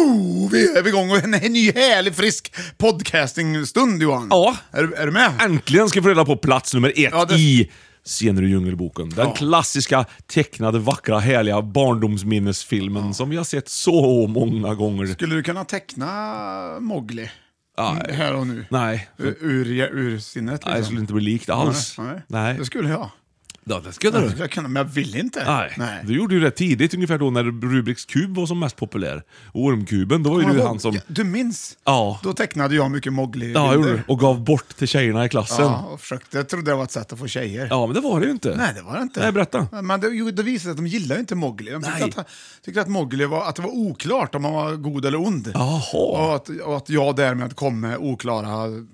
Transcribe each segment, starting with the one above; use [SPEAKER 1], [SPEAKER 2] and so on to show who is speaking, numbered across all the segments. [SPEAKER 1] Oh, vi är igång och en, en ny härlig frisk podcastingstund Johan.
[SPEAKER 2] Ja.
[SPEAKER 1] Är, du- är du med?
[SPEAKER 2] Äntligen ska vi få reda på plats nummer ett
[SPEAKER 1] Ja, det-
[SPEAKER 2] i Scener ur djungelboken. Den
[SPEAKER 1] Ja.
[SPEAKER 2] klassiska, tecknade, vackra, härliga barndomsminnesfilmen som vi har sett så många gånger.
[SPEAKER 1] Skulle du kunna teckna Mowgli
[SPEAKER 2] Nej.
[SPEAKER 1] här och nu?
[SPEAKER 2] Nej.
[SPEAKER 1] Ur, ur, ur sinnet liksom?
[SPEAKER 2] Nej, det skulle inte bli likt alls.
[SPEAKER 1] Nej, nej.
[SPEAKER 2] Nej.
[SPEAKER 1] Det skulle jag.
[SPEAKER 2] Ja, det skulle
[SPEAKER 1] Det
[SPEAKER 2] du.
[SPEAKER 1] skulle jag kunna, men jag vill inte.
[SPEAKER 2] Nej. Du gjorde ju det tidigt, ungefär då när Rubiks kub var som mest populär. Och ormkuben, då var ju
[SPEAKER 1] Kommer
[SPEAKER 2] du
[SPEAKER 1] ihåg-
[SPEAKER 2] han som...
[SPEAKER 1] Du minns?
[SPEAKER 2] Ja.
[SPEAKER 1] Då tecknade jag mycket mowgli
[SPEAKER 2] Ja, gjorde du. Och gav bort till tjejerna i klassen.
[SPEAKER 1] Ja,
[SPEAKER 2] Ja,
[SPEAKER 1] och försökte. Jag trodde det var ett sätt att få tjejer.
[SPEAKER 2] men det var det ju inte.
[SPEAKER 1] Nej, det var det inte.
[SPEAKER 2] Nej, berätta.
[SPEAKER 1] Men det, jo, det visade sig att de gillade inte Mowgli. De tyckte
[SPEAKER 2] Nej.
[SPEAKER 1] att, han- tyckte att Mowgli var, att det var oklart om han var god eller ond.
[SPEAKER 2] Jaha.
[SPEAKER 1] Och att, och att jag därmed kom med oklara mm,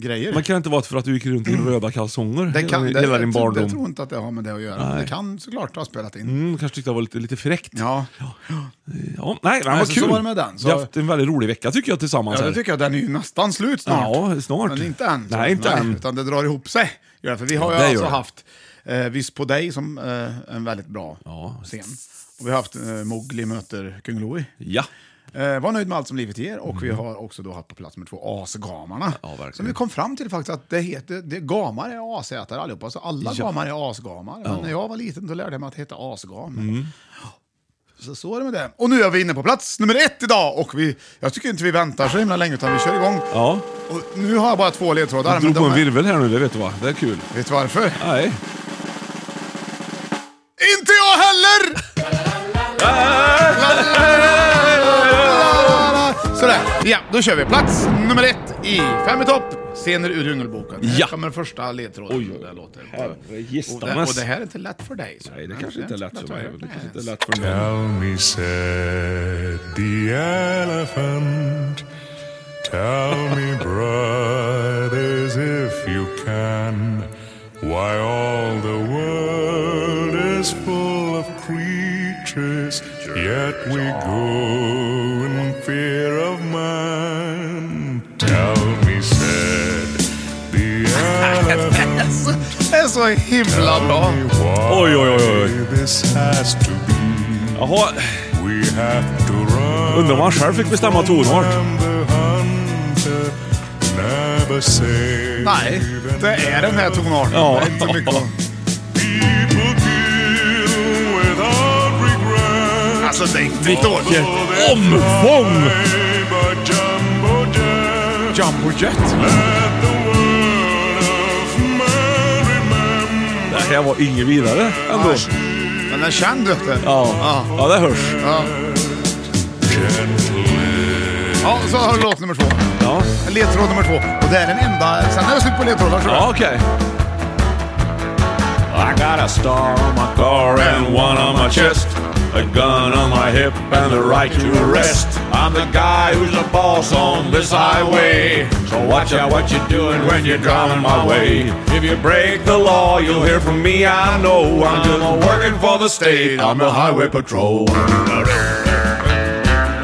[SPEAKER 1] grejer.
[SPEAKER 2] Man kan inte vara för att du gick runt i röda kalsonger
[SPEAKER 1] det kan,
[SPEAKER 2] hela,
[SPEAKER 1] det,
[SPEAKER 2] hela din
[SPEAKER 1] jag tror- Jag
[SPEAKER 2] barndom.
[SPEAKER 1] tror inte att det har med det att göra. Men det kan såklart ha spelat in.
[SPEAKER 2] Mm, kanske tyckte jag var lite, lite fräckt.
[SPEAKER 1] Ja.
[SPEAKER 2] Ja, nej, men vad
[SPEAKER 1] så-
[SPEAKER 2] kul.
[SPEAKER 1] så var det med den. Så-
[SPEAKER 2] Vi har haft en väldigt rolig vecka tycker jag tillsammans.
[SPEAKER 1] ja, det
[SPEAKER 2] här.
[SPEAKER 1] tycker jag. Den är ju nästan slut snart.
[SPEAKER 2] Ja, snart.
[SPEAKER 1] Men inte än.
[SPEAKER 2] Nej, inte än.
[SPEAKER 1] Utan det drar ihop sig. Gör det, För vi har
[SPEAKER 2] det
[SPEAKER 1] ju
[SPEAKER 2] gör
[SPEAKER 1] alltså
[SPEAKER 2] det.
[SPEAKER 1] haft eh, Viss på dig som eh, en väldigt bra scen. Och vi har haft eh, Mowgli möter Kung Louie.
[SPEAKER 2] ja.
[SPEAKER 1] Eh, var nöjd med allt som livet ger och vi har också då haft på plats med två asgamarna.
[SPEAKER 2] Mm. Ja, verkligen.
[SPEAKER 1] som vi kom fram till faktiskt att det heter, det, gamar är asätare allihopa, så alla gamar är asgamar. Men när jag var liten då lärde jag mig att heta asgam.
[SPEAKER 2] Mm.
[SPEAKER 1] Så så är det med det. Och nu är vi inne på plats nummer ett idag och vi, jag tycker inte vi väntar så himla länge utan vi kör igång.
[SPEAKER 2] Ja.
[SPEAKER 1] Och nu har jag bara två ledtrådar.
[SPEAKER 2] Jag drog
[SPEAKER 1] de
[SPEAKER 2] på en
[SPEAKER 1] är-
[SPEAKER 2] virvel här nu, det vet du va? Det är kul.
[SPEAKER 1] Vet du varför?
[SPEAKER 2] Nej.
[SPEAKER 1] Inte jag heller! Sådär, ja, då kör vi. Plats nummer ett i Fem i topp, scener ur Djungelboken. Här
[SPEAKER 2] Ja.
[SPEAKER 1] kommer första ledtråden. Oj, det låter. Och det, och
[SPEAKER 2] Herregistanes.
[SPEAKER 1] det här är inte lätt för dig. så.
[SPEAKER 2] Nej, det kanske inte är lätt för mig. Det kanske
[SPEAKER 1] Nej.
[SPEAKER 2] inte är lätt för mig.
[SPEAKER 3] Tell me, said the elephant. Tell me, brothers, if you can, why all the world is full of creatures, yet we go in fear of man. Tell me, said the elephant.
[SPEAKER 1] Det är så himla bra.
[SPEAKER 2] Oj, oj, oj, oj.
[SPEAKER 3] Why This has to be.
[SPEAKER 2] Jaha,
[SPEAKER 3] We have to run
[SPEAKER 2] undrar om han själv fick bestämma tonart.
[SPEAKER 3] from the hunter, never say
[SPEAKER 1] Nej, det är den här tonarten.
[SPEAKER 2] Ja.
[SPEAKER 1] Det är inte mycket att-
[SPEAKER 3] People kill without regret.
[SPEAKER 1] Alltså, det är inte
[SPEAKER 2] Vilket
[SPEAKER 1] dåligt.
[SPEAKER 2] omfång!
[SPEAKER 3] Hey, but Jumbo Jack,
[SPEAKER 1] Jumbo Jet.
[SPEAKER 3] let the world of man remember
[SPEAKER 2] Det här var inget vidare ändå.
[SPEAKER 1] Men den är känd, vet du.
[SPEAKER 2] Ja, ja det hörs.
[SPEAKER 3] gently.
[SPEAKER 1] Ja, så har du låt nummer två.
[SPEAKER 2] Ja,
[SPEAKER 1] Ledtråd nummer två. Och det är den enda. Sen är det slut på ledtrådar, tror jag.
[SPEAKER 2] ja okej. I got a star on my car and one on my chest. A gun on my hip and the right to rest. I'm the guy who's the boss on this highway. So watch out what you're doing when you're driving my way. If you break the law, you'll hear from me. I know I'm just working for the state. I'm the highway patrol.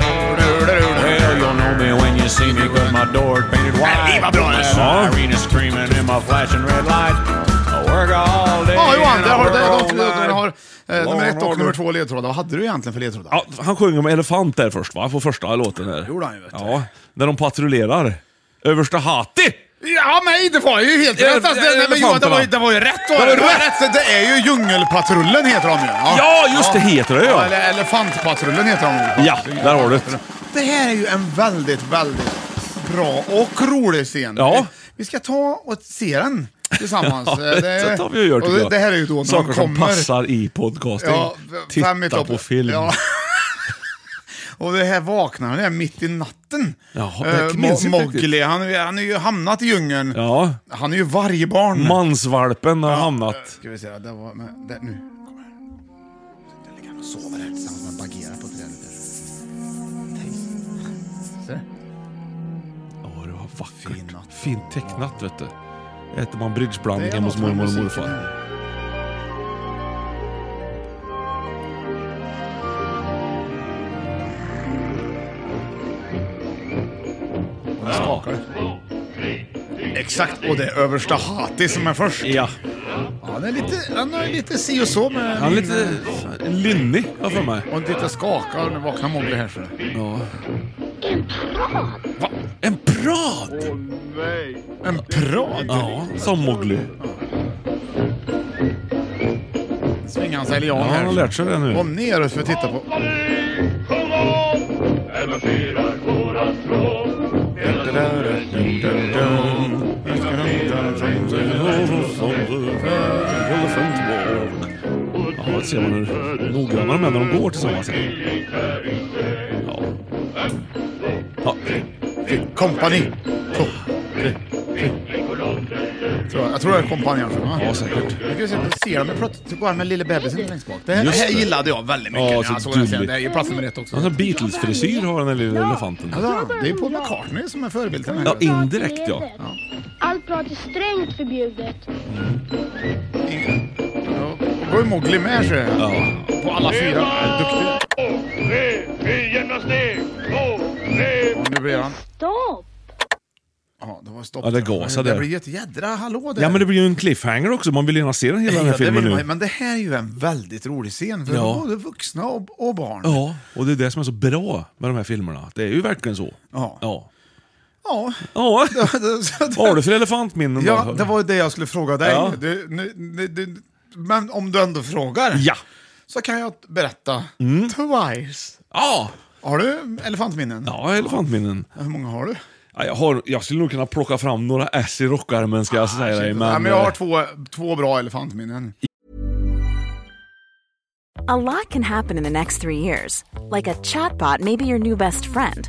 [SPEAKER 2] Well, you'll know me when you see me with my door painted white. My siren is screaming in my flashing red light. I work all day.
[SPEAKER 1] Ja, Ja Johan, där har du där, de tre ledtrådarna har, eh,
[SPEAKER 2] Long
[SPEAKER 1] nummer ett och
[SPEAKER 2] order.
[SPEAKER 1] nummer två ledtrådar. Vad hade du egentligen för ledtrådar?
[SPEAKER 2] Ja, han sjöng om elefant där först va, på första låten där.
[SPEAKER 1] gjorde han ju, vet du.
[SPEAKER 2] Ja, när de patrullerar. Översta Hati!
[SPEAKER 1] Ja men det var ju helt
[SPEAKER 2] Ja,
[SPEAKER 1] rätt. Alltså, det,
[SPEAKER 2] ja,
[SPEAKER 1] nej, men Johan, det var, ju-
[SPEAKER 2] elefanterna.
[SPEAKER 1] det var ju rätt.
[SPEAKER 2] var
[SPEAKER 1] var det. Det var
[SPEAKER 2] rätt.
[SPEAKER 1] rätt. Det är ju Djungelpatrullen heter de ju.
[SPEAKER 2] Ja, just det, heter det, ja.
[SPEAKER 1] Eller Elefantpatrullen heter de ju.
[SPEAKER 2] Ja, där har du det.
[SPEAKER 1] Det här är ju en väldigt, väldigt bra och rolig scen.
[SPEAKER 2] Ja.
[SPEAKER 1] Vi ska ta och se den tillsammans.
[SPEAKER 2] Ja, det tar vi och gör
[SPEAKER 1] och
[SPEAKER 2] tycker
[SPEAKER 1] det,
[SPEAKER 2] jag.
[SPEAKER 1] det här är ju då när
[SPEAKER 2] Saker
[SPEAKER 1] de
[SPEAKER 2] som
[SPEAKER 1] kommer.
[SPEAKER 2] passar i podcasting.
[SPEAKER 1] v- fem i
[SPEAKER 2] Titta
[SPEAKER 1] topp.
[SPEAKER 2] på film.
[SPEAKER 1] Ja. Och det här vaknar han är mitt i natten.
[SPEAKER 2] Jaha,
[SPEAKER 1] Eh,
[SPEAKER 2] jag minns
[SPEAKER 1] Mo-
[SPEAKER 2] inte riktigt.
[SPEAKER 1] Mowgli, han, är- han är ju hamnat i djungeln.
[SPEAKER 2] Ja.
[SPEAKER 1] Han är ju vargbarn.
[SPEAKER 2] Mansvalpen har hamnat.
[SPEAKER 1] Ska vi se, det var... Men, det, nu kommer den. Den ligger och sover här tillsammans med Bagheera på trädet. där. Ser du?
[SPEAKER 2] Ja, det var vackert.
[SPEAKER 1] Fin natt.
[SPEAKER 2] Fint tecknat vet du. Äter man
[SPEAKER 1] Det
[SPEAKER 2] bridgeblandning
[SPEAKER 1] är
[SPEAKER 2] hemma hos
[SPEAKER 1] något med
[SPEAKER 2] mormor och
[SPEAKER 1] musiken
[SPEAKER 2] morfar.
[SPEAKER 1] här. Och den skakar. Exakt, och det är översta Hati som är först.
[SPEAKER 2] Ja,
[SPEAKER 1] Ja, han är lite, han är lite si och så med...
[SPEAKER 2] han är lite lynnig har jag för mig.
[SPEAKER 1] Och inte skakar, nu vaknar Mowgli här. ser du.
[SPEAKER 2] Ja. En prad! En prad?
[SPEAKER 1] En prad!
[SPEAKER 2] Ja, som Mowgli.
[SPEAKER 1] Svingar han sig i lian
[SPEAKER 2] Ja,
[SPEAKER 1] här.
[SPEAKER 2] han har lärt sig det nu.
[SPEAKER 1] Kom neråt för att titta på...
[SPEAKER 2] Ja, det ser man hur noggranna de är när de går tillsammans. Ja. Ja.
[SPEAKER 1] Kompani. Två, tre, tre. Tror jag. jag tror det är kompani alltså. va?
[SPEAKER 2] Ja, säkert.
[SPEAKER 1] Nu ska vi se, då ser de ju plötsligt så går han typ med lille bebisen längst bak. Det här, det
[SPEAKER 2] Just
[SPEAKER 1] här
[SPEAKER 2] det.
[SPEAKER 1] gillade jag väldigt mycket
[SPEAKER 2] Ja,
[SPEAKER 1] när
[SPEAKER 2] så
[SPEAKER 1] jag såg den scenen.
[SPEAKER 2] tydligt.
[SPEAKER 1] Det är ju plats nummer ett också.
[SPEAKER 2] Han har Beatles-frisyr har den där lilla elefanten.
[SPEAKER 1] Alltså, det är ju Paul McCartney som är förebilden här.
[SPEAKER 2] Ja, indirekt ja.
[SPEAKER 4] Allt prat är strängt förbjudet.
[SPEAKER 1] Ja, Då går ju Mowgli med så.
[SPEAKER 2] Ja.
[SPEAKER 1] På alla fyra. Ja, Duktig. Och nu blir han...
[SPEAKER 4] Stopp!
[SPEAKER 1] Ja, det var stopp.
[SPEAKER 2] Ja, det gasade
[SPEAKER 1] Det
[SPEAKER 2] där.
[SPEAKER 1] blir ett jädra hallå där.
[SPEAKER 2] Ja men det blir ju en cliffhanger också, man vill gärna se den hela den här
[SPEAKER 1] Ja, det
[SPEAKER 2] filmen
[SPEAKER 1] vill man ju,
[SPEAKER 2] nu.
[SPEAKER 1] Men det här är ju en väldigt rolig scen för
[SPEAKER 2] Ja.
[SPEAKER 1] både vuxna och, och barn.
[SPEAKER 2] Ja, och det är det som är så bra med de här filmerna. Det är ju verkligen så.
[SPEAKER 1] Ja.
[SPEAKER 2] Ja.
[SPEAKER 1] Ja.
[SPEAKER 2] Ja.
[SPEAKER 1] Så det-
[SPEAKER 2] Vad har du för elefantminnen då?
[SPEAKER 1] Ja, det var ju det jag skulle fråga dig.
[SPEAKER 2] Ja.
[SPEAKER 1] Du, nu, nu, du, men om du ändå frågar
[SPEAKER 2] Ja! Mm.
[SPEAKER 1] så kan jag berätta. Twice.
[SPEAKER 2] Ja!
[SPEAKER 1] Har du elefantminnen?
[SPEAKER 2] Ja, elefantminnen.
[SPEAKER 1] Hur många har du?
[SPEAKER 2] Ja, jag, har, jag skulle nog kunna plocka fram några S i rockärmen ska jag säga dig. Men,
[SPEAKER 1] Ah, ja, men jag har
[SPEAKER 2] eh,
[SPEAKER 1] två, två bra elefantminnen.
[SPEAKER 5] A lot can happen in the next three years. Like a chatbot may be your new best friend.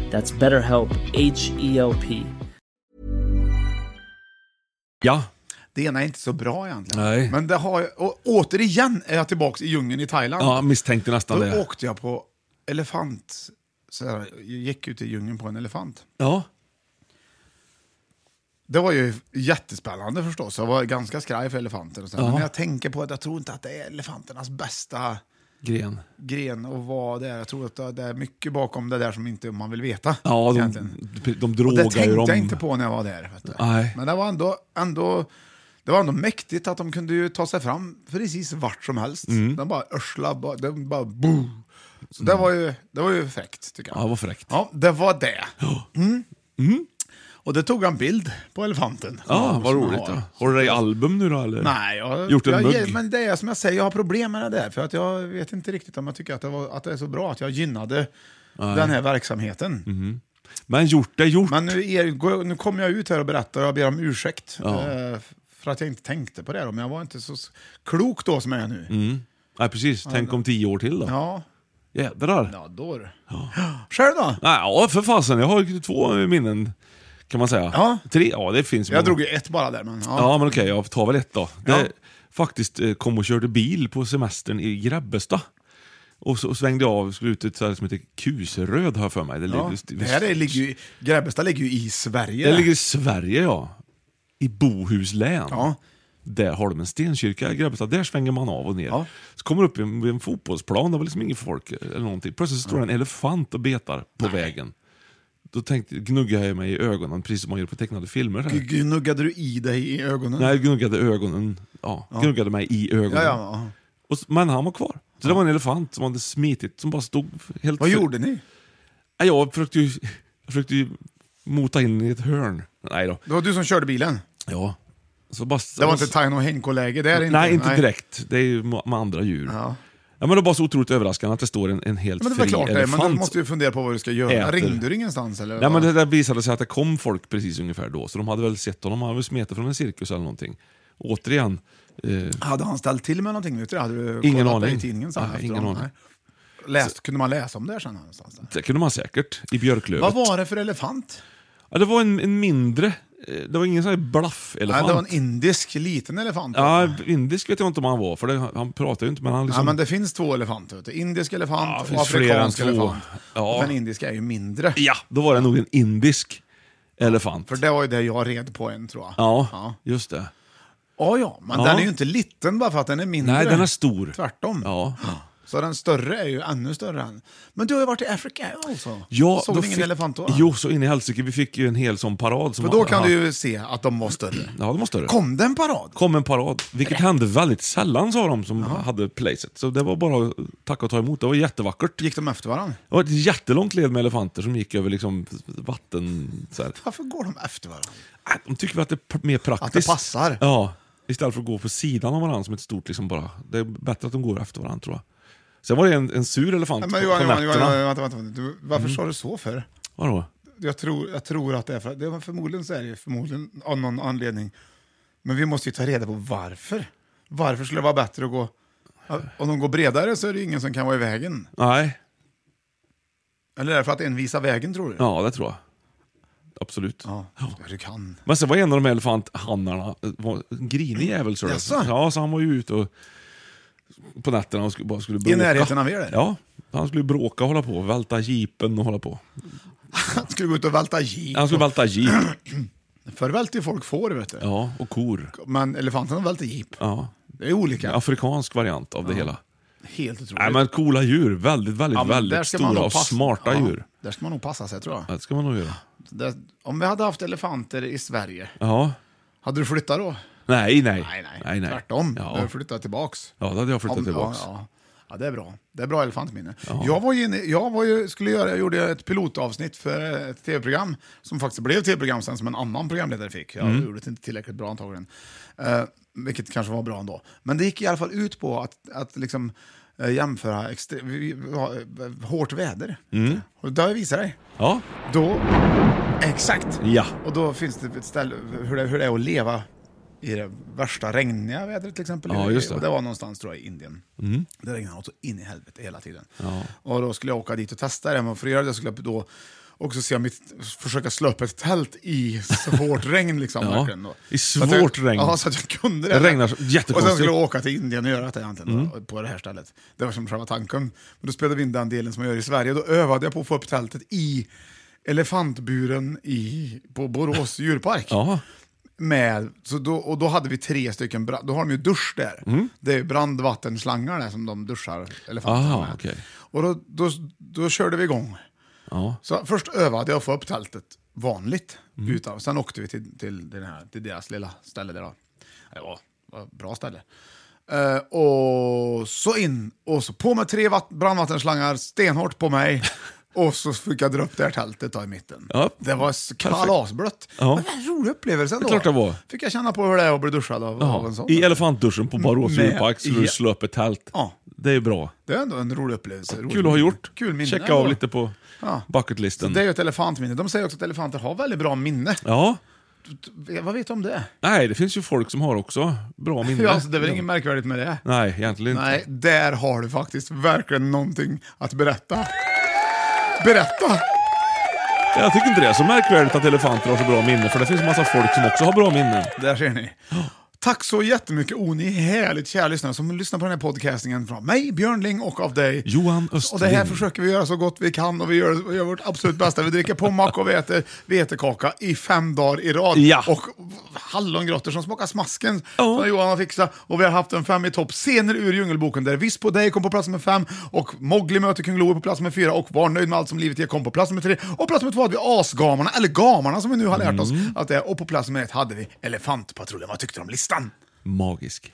[SPEAKER 6] That's BetterHelp, H E L P.
[SPEAKER 2] Ja.
[SPEAKER 1] Det ena är inte så bra egentligen.
[SPEAKER 2] Nej.
[SPEAKER 1] Men det har jag, och återigen är jag tillbaka i djungeln i Thailand.
[SPEAKER 2] ja, misstänkte nästan
[SPEAKER 1] Då
[SPEAKER 2] det.
[SPEAKER 1] åkte jag på elefant. Så här, jag gick ut i djungeln på en elefant.
[SPEAKER 2] Ja.
[SPEAKER 1] Det var ju jättespännande förstås. Jag var ganska skraj för elefanter. Och så. Men jag tänker på att jag tror inte att det är elefanternas bästa
[SPEAKER 2] gren.
[SPEAKER 1] gren och vad det är. Jag tror att det är mycket bakom det där som inte man vill veta.
[SPEAKER 2] Ja, de,
[SPEAKER 1] egentligen.
[SPEAKER 2] de, de
[SPEAKER 1] Och det
[SPEAKER 2] drogar
[SPEAKER 1] tänkte
[SPEAKER 2] ju dem.
[SPEAKER 1] jag inte på när jag var där. Vet du.
[SPEAKER 2] Nej.
[SPEAKER 1] Men det var ändå, ändå, det var ändå mäktigt att de kunde ju ta sig fram precis vart som helst.
[SPEAKER 2] Mm.
[SPEAKER 1] De bara örslade, bara- de bara boo. Så det, var ju, det var ju fräckt tycker jag.
[SPEAKER 2] Ja, vad fräckt.
[SPEAKER 1] Ja, det var det. Mm. Och det tog jag en bild på elefanten.
[SPEAKER 2] Ja,
[SPEAKER 1] Som
[SPEAKER 2] vad
[SPEAKER 1] jag
[SPEAKER 2] roligt.
[SPEAKER 1] har.
[SPEAKER 2] Då. Har du dig album nu då eller?
[SPEAKER 1] Nej, jag,
[SPEAKER 2] Gjort en
[SPEAKER 1] jag,
[SPEAKER 2] mugg?
[SPEAKER 1] men det är som jag säger, jag har problem med det där. För att jag vet inte riktigt om jag tycker att det, var, att det är så bra att jag gynnade den här verksamheten.
[SPEAKER 2] Men gjort är gjort.
[SPEAKER 1] Men nu, er, går- nu kommer jag ut här och berättar och jag ber om ursäkt. eh, För att jag inte tänkte på det då, men jag var inte så s- klok då som jag är nu.
[SPEAKER 2] Nej, precis. Tänk om tio år till då.
[SPEAKER 1] Ja,
[SPEAKER 2] Jädrar.
[SPEAKER 1] ja då du. Själv då?
[SPEAKER 2] Nej, ja, för fasen. Jag har ju två minnen, kan man säga.
[SPEAKER 1] Ja.
[SPEAKER 2] Tre? Ja, det finns många.
[SPEAKER 1] Jag drog ju ett bara där, men ja.
[SPEAKER 2] Ja, men okej, jag tar väl ett då. Det
[SPEAKER 1] Ja.
[SPEAKER 2] faktiskt eh, kom och körde bil på semestern i Grebbestad. Och så och svängde jag av, skulle ut till ett ställe som heter Kuseröd har jag för mig. Det,
[SPEAKER 1] Ja.
[SPEAKER 2] ligger-
[SPEAKER 1] Det här är, ligger ju, Grebbestad ligger ju i Sverige.
[SPEAKER 2] det ligger i Sverige ja. I Bohus län.
[SPEAKER 1] Ja.
[SPEAKER 2] Där har de en stenkyrka i Grebbestad. Där svänger man av och ner.
[SPEAKER 1] Ja.
[SPEAKER 2] Så kommer upp i en, vid en fotbollsplan, det var liksom inget folk eller någonting. Plötsligt står en elefant och betar på vägen. Då tänkte, gnuggade jag mig i ögonen, precis som man gör på tecknade filmer. så här.
[SPEAKER 1] G- Gnuggade du i dig i ögonen?
[SPEAKER 2] Nej, gnuggade ögonen. Ja, gnuggade mig i ögonen.
[SPEAKER 1] Ja, ja, ja.
[SPEAKER 2] Och, s- men han var kvar. Så det var en elefant som hade smitit, som bara stod helt...
[SPEAKER 1] Vad gjorde ni?
[SPEAKER 2] Nej, Jag försökte ju, jag försökte ju mota in i ett hörn. Nej då.
[SPEAKER 1] Det var du som körde bilen.
[SPEAKER 2] Ja. Så bara,
[SPEAKER 1] Det var inte Taino Henko-läge där inte.
[SPEAKER 2] Nej, inte direkt. Det är ju ma- med andra djur.
[SPEAKER 1] Ja.
[SPEAKER 2] Ja, men det var bara så otroligt överraskande att det står en, en helt
[SPEAKER 1] Men det är
[SPEAKER 2] fri
[SPEAKER 1] väl klart det,
[SPEAKER 2] elefant.
[SPEAKER 1] men du måste ju fundera på vad du ska göra.
[SPEAKER 2] Äter.
[SPEAKER 1] Ringde du ingenstans eller?
[SPEAKER 2] Nej,
[SPEAKER 1] vad?
[SPEAKER 2] men det där visade sig att det kom folk precis ungefär då, så de hade väl sett honom. Han hade väl smetat från en cirkus eller någonting. Återigen, eh,
[SPEAKER 1] Hade han ställt till med någonting? Vet du? det? Hade du
[SPEAKER 2] Ingen
[SPEAKER 1] kollat det
[SPEAKER 2] aning.
[SPEAKER 1] I tidningen sen
[SPEAKER 2] Nej,
[SPEAKER 1] efter
[SPEAKER 2] ingen
[SPEAKER 1] honom?
[SPEAKER 2] aning.
[SPEAKER 1] Nej. Läst, kunde man läsa om det här sen någonstans? Där?
[SPEAKER 2] det kunde man säkert, i björklövet.
[SPEAKER 1] Vad var det för elefant?
[SPEAKER 2] Ja, det var en, en mindre, eh, det var ingen sån här
[SPEAKER 1] Nej,
[SPEAKER 2] blaffelefant.
[SPEAKER 1] det var en indisk liten elefant.
[SPEAKER 2] Ja, indisk vet jag inte om han var, för det, han pratade ju inte, men han
[SPEAKER 1] Ja,
[SPEAKER 2] liksom...
[SPEAKER 1] men det finns två elefanter. Vet du. Indisk
[SPEAKER 2] Ja, det
[SPEAKER 1] elefant och
[SPEAKER 2] finns fler än
[SPEAKER 1] afrikansk
[SPEAKER 2] två.
[SPEAKER 1] elefant.
[SPEAKER 2] Ja.
[SPEAKER 1] Men indiska är ju mindre.
[SPEAKER 2] Ja, då var det nog en indisk elefant.
[SPEAKER 1] För det var ju det jag red på en tror jag.
[SPEAKER 2] Ja,
[SPEAKER 1] Ja,
[SPEAKER 2] just det.
[SPEAKER 1] ja, ja men
[SPEAKER 2] Ja.
[SPEAKER 1] den är ju inte liten bara för att den är mindre.
[SPEAKER 2] Nej, den är stor.
[SPEAKER 1] Tvärtom.
[SPEAKER 2] Ja.
[SPEAKER 1] Så den större är ju ännu större än. Men du har ju varit i Afrika alltså?
[SPEAKER 2] Ja,
[SPEAKER 1] Såg
[SPEAKER 2] då
[SPEAKER 1] ni ingen
[SPEAKER 2] fick-
[SPEAKER 1] elefant då?
[SPEAKER 2] Jo, så in i helsike. Vi fick ju en hel sån parad. Som
[SPEAKER 1] För då kan
[SPEAKER 2] ja,
[SPEAKER 1] du ju se att de var större.
[SPEAKER 2] Ja, de var större.
[SPEAKER 1] Kom Äh. det en parad?
[SPEAKER 2] Kom en parad, vilket hände väldigt sällan sa de som hade placet. Så det var bara att tacka och ta emot. Det var jättevackert.
[SPEAKER 1] Gick de efter varandra?
[SPEAKER 2] Det var ett jättelångt led med elefanter som gick över liksom vatten... Så här.
[SPEAKER 1] Varför går de efter varandra?
[SPEAKER 2] Äh, De tycker väl att det är pr- mer praktiskt.
[SPEAKER 1] Att det passar.
[SPEAKER 2] Ja. Istället för att gå på sidan av varandra som ett stort liksom bara. Det är bättre att de går efter varandra tror jag. Sen var det en, en sur elefant
[SPEAKER 1] Nej,
[SPEAKER 2] på,
[SPEAKER 1] men Johan,
[SPEAKER 2] på
[SPEAKER 1] Johan,
[SPEAKER 2] nätterna. Mm.
[SPEAKER 1] Johan, Johan vänta, vänta, vänta. Du, varför sa du så för?
[SPEAKER 2] Vadå?
[SPEAKER 1] Jag tror, jag tror att det är för det var förmodligen så är det ju förmodligen av någon anledning. Men vi måste ju ta reda på varför. Varför skulle det vara bättre att gå... ja, Om de går bredare så är det ju ingen som kan vara i vägen.
[SPEAKER 2] Nej,
[SPEAKER 1] Eller är det för att en visar vägen tror du?
[SPEAKER 2] ja det tror jag. Absolut.
[SPEAKER 1] Ja, ja, du kan.
[SPEAKER 2] Men sen var en av de här elefanthannarna eh, var en grinig jävel. Så
[SPEAKER 1] Jaså?
[SPEAKER 2] Ja, så han var ju ute och, på nätterna och skulle, bara skulle bråka.
[SPEAKER 1] I närheten av er där?
[SPEAKER 2] Ja, han skulle bråka och hålla på. Välta jeepen och hålla på.
[SPEAKER 1] Han skulle gå ut och välta jeep.
[SPEAKER 2] Han skulle välta jeep.
[SPEAKER 1] Förr välte ju folk får vet du.
[SPEAKER 2] Ja, och kor.
[SPEAKER 1] Men elefanterna välte jeep.
[SPEAKER 2] Ja.
[SPEAKER 1] Det är olika.
[SPEAKER 2] Afrikansk variant av det hela.
[SPEAKER 1] Helt otroligt.
[SPEAKER 2] Nej men coola djur. Väldigt, väldigt,
[SPEAKER 1] Ja, men där
[SPEAKER 2] väldigt
[SPEAKER 1] ska man
[SPEAKER 2] stora
[SPEAKER 1] nog
[SPEAKER 2] och
[SPEAKER 1] passa-
[SPEAKER 2] smarta
[SPEAKER 1] ja,
[SPEAKER 2] djur.
[SPEAKER 1] Där ska man nog passa sig tror jag.
[SPEAKER 2] Ja, det ska man nog göra.
[SPEAKER 1] Där, om vi hade haft elefanter i Sverige,
[SPEAKER 2] Ja.
[SPEAKER 1] hade du flyttat då?
[SPEAKER 2] Nej, nej.
[SPEAKER 1] Nej, nej. Tvärtom. Du
[SPEAKER 2] Ja.
[SPEAKER 1] hade flyttat tillbaks.
[SPEAKER 2] ja, då hade jag flyttat
[SPEAKER 1] Om-
[SPEAKER 2] tillbaks.
[SPEAKER 1] Ja, ja. ja, det är bra. Det är bra elefantminne. Jag, var ju inne, jag, var ju, skulle göra, jag gjorde ett pilotavsnitt för ett tv-program som faktiskt blev ett tv-program sen som en annan programledare fick. Jag gjorde det inte tillräckligt bra antagligen. Eh, vilket kanske var bra ändå. Men det gick i alla fall ut på att, att liksom, eh, jämföra extre- vi- vi har, eh, hårt väder. Och det har jag visat dig.
[SPEAKER 2] Ja.
[SPEAKER 1] Då, exakt.
[SPEAKER 2] Ja.
[SPEAKER 1] Och då finns det ett ställe hur det, hur det är att leva i det värsta regniga vädret till exempel.
[SPEAKER 2] Ja, just det. Mm.
[SPEAKER 1] Och det var någonstans tror jag i Indien. Det regnade också in i helvete hela tiden. Och då skulle jag åka dit och testa det, men för att göra det skulle jag då också se om mitt, försöka slå upp ett tält i svårt regn. Liksom,
[SPEAKER 2] Ja,
[SPEAKER 1] verkligen då.
[SPEAKER 2] i
[SPEAKER 1] Så att jag-
[SPEAKER 2] svårt regn.
[SPEAKER 1] Ja, så att jag kunde det.
[SPEAKER 2] Det regnar så-
[SPEAKER 1] Och sen
[SPEAKER 2] jättekonstigt.
[SPEAKER 1] skulle jag åka till Indien och göra det egentligen, då, på det här stället. Det var som själva tanken. Men då spelade vi in den delen som jag gör i Sverige, då övade jag på att få upp tältet i elefantburen i, på Borås djurpark.
[SPEAKER 2] Ja.
[SPEAKER 1] Med, så då, och då hade vi tre stycken, bra- då har de ju dusch där.
[SPEAKER 2] Mm.
[SPEAKER 1] Det är ju brandvattenslangar där som de duschar elefanterna
[SPEAKER 2] Aha,
[SPEAKER 1] med.
[SPEAKER 2] Ah, okej.
[SPEAKER 1] Och då, då, då körde vi igång. Så först övade jag att få upp tältet vanligt.
[SPEAKER 2] Mm.
[SPEAKER 1] Utan, sen åkte vi till, till, den här, till deras lilla ställe där. Då. Det var, var ett bra ställe. Eh, och så in, och så på med tre vatt- brandvattenslangar, stenhårt på mig. Och så fick jag dra upp det här tältet då i mitten.
[SPEAKER 2] Ja.
[SPEAKER 1] Det var s- kalasblött.
[SPEAKER 2] Ja.
[SPEAKER 1] Men det var en rolig upplevelse ändå.
[SPEAKER 2] klart det var.
[SPEAKER 1] Fick jag känna på hur det är att bli duschad av, av en
[SPEAKER 2] Ja,
[SPEAKER 1] sån. Mm.
[SPEAKER 2] I elefantduschen på Barås
[SPEAKER 1] Med-
[SPEAKER 2] djurpark så du
[SPEAKER 1] Ja.
[SPEAKER 2] slår upp ett tält.
[SPEAKER 1] Ja.
[SPEAKER 2] Det är bra.
[SPEAKER 1] Det är ändå en rolig upplevelse. Rolig
[SPEAKER 2] Kul att ha gjort.
[SPEAKER 1] Kul minne
[SPEAKER 2] Checka
[SPEAKER 1] ändå.
[SPEAKER 2] av lite på
[SPEAKER 1] Ja. Så
[SPEAKER 2] bucketlisten.
[SPEAKER 1] det är ju ett elefantminne. De säger också att elefanter har väldigt bra minne.
[SPEAKER 2] Ja.
[SPEAKER 1] Vad vet du om det?
[SPEAKER 2] Nej, det finns ju folk som har också bra minne.
[SPEAKER 1] Ja, alltså, det är väl inget märkvärdigt med det?
[SPEAKER 2] Nej, egentligen inte.
[SPEAKER 1] Nej, där har du faktiskt verkligen någonting att berätta. Berätta!
[SPEAKER 2] Jag tycker inte det är så märkvärdigt att elefanter har så bra minne, för det finns en massa folk som också har bra minnen.
[SPEAKER 1] Där ser ni. Tack så jättemycket, o ni härligt kära lyssnare som lyssnar på den här podcastingen från mig, Björn Ling och av dig.
[SPEAKER 2] Johan
[SPEAKER 1] Och det här
[SPEAKER 2] Östling.
[SPEAKER 1] försöker vi göra så gott vi kan och vi gör, vi gör vårt absolut bästa. Vi dricker pommack och vi äter vetekaka i fem dagar i rad.
[SPEAKER 2] Ja.
[SPEAKER 1] Och hallongrottor som smakar smasken
[SPEAKER 2] Ja.
[SPEAKER 1] som Johan har fixat. Och vi har haft en fem i topp scener ur Djungelboken där Visst på dig kom på plats med fem och Mowgli möter Kung Loe på plats med fyra och Var nöjd med allt som livet ger kom på plats med tre. Och plats med två hade vi Asgamarna, eller Gamarna som vi nu har lärt oss
[SPEAKER 2] Mm.
[SPEAKER 1] att det är. Och på plats med ett hade vi Elefantpatrullen. Vad tyckte du om listan?
[SPEAKER 2] Magisk.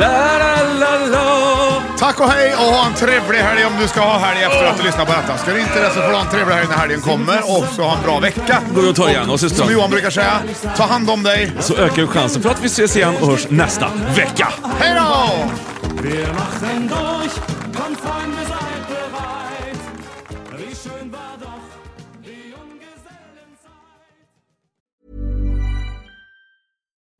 [SPEAKER 2] La, la, la, la.
[SPEAKER 1] Tack och hej och ha en trevlig helg om du ska ha helg efter att du lyssnat på detta. Ska du inte det så får du ha en trevlig helg när helgen kommer och så ha en bra vecka.
[SPEAKER 2] Gå och ta igen oss i
[SPEAKER 1] Som
[SPEAKER 2] ström.
[SPEAKER 1] Johan brukar säga, ta hand om dig.
[SPEAKER 2] Så ökar ju chansen för att vi ses igen och hörs nästa vecka.
[SPEAKER 1] Hej då!
[SPEAKER 7] Wir machten durch, kommt Freunde, seid bereit. Wie schön war doch die Junggesellenzeit.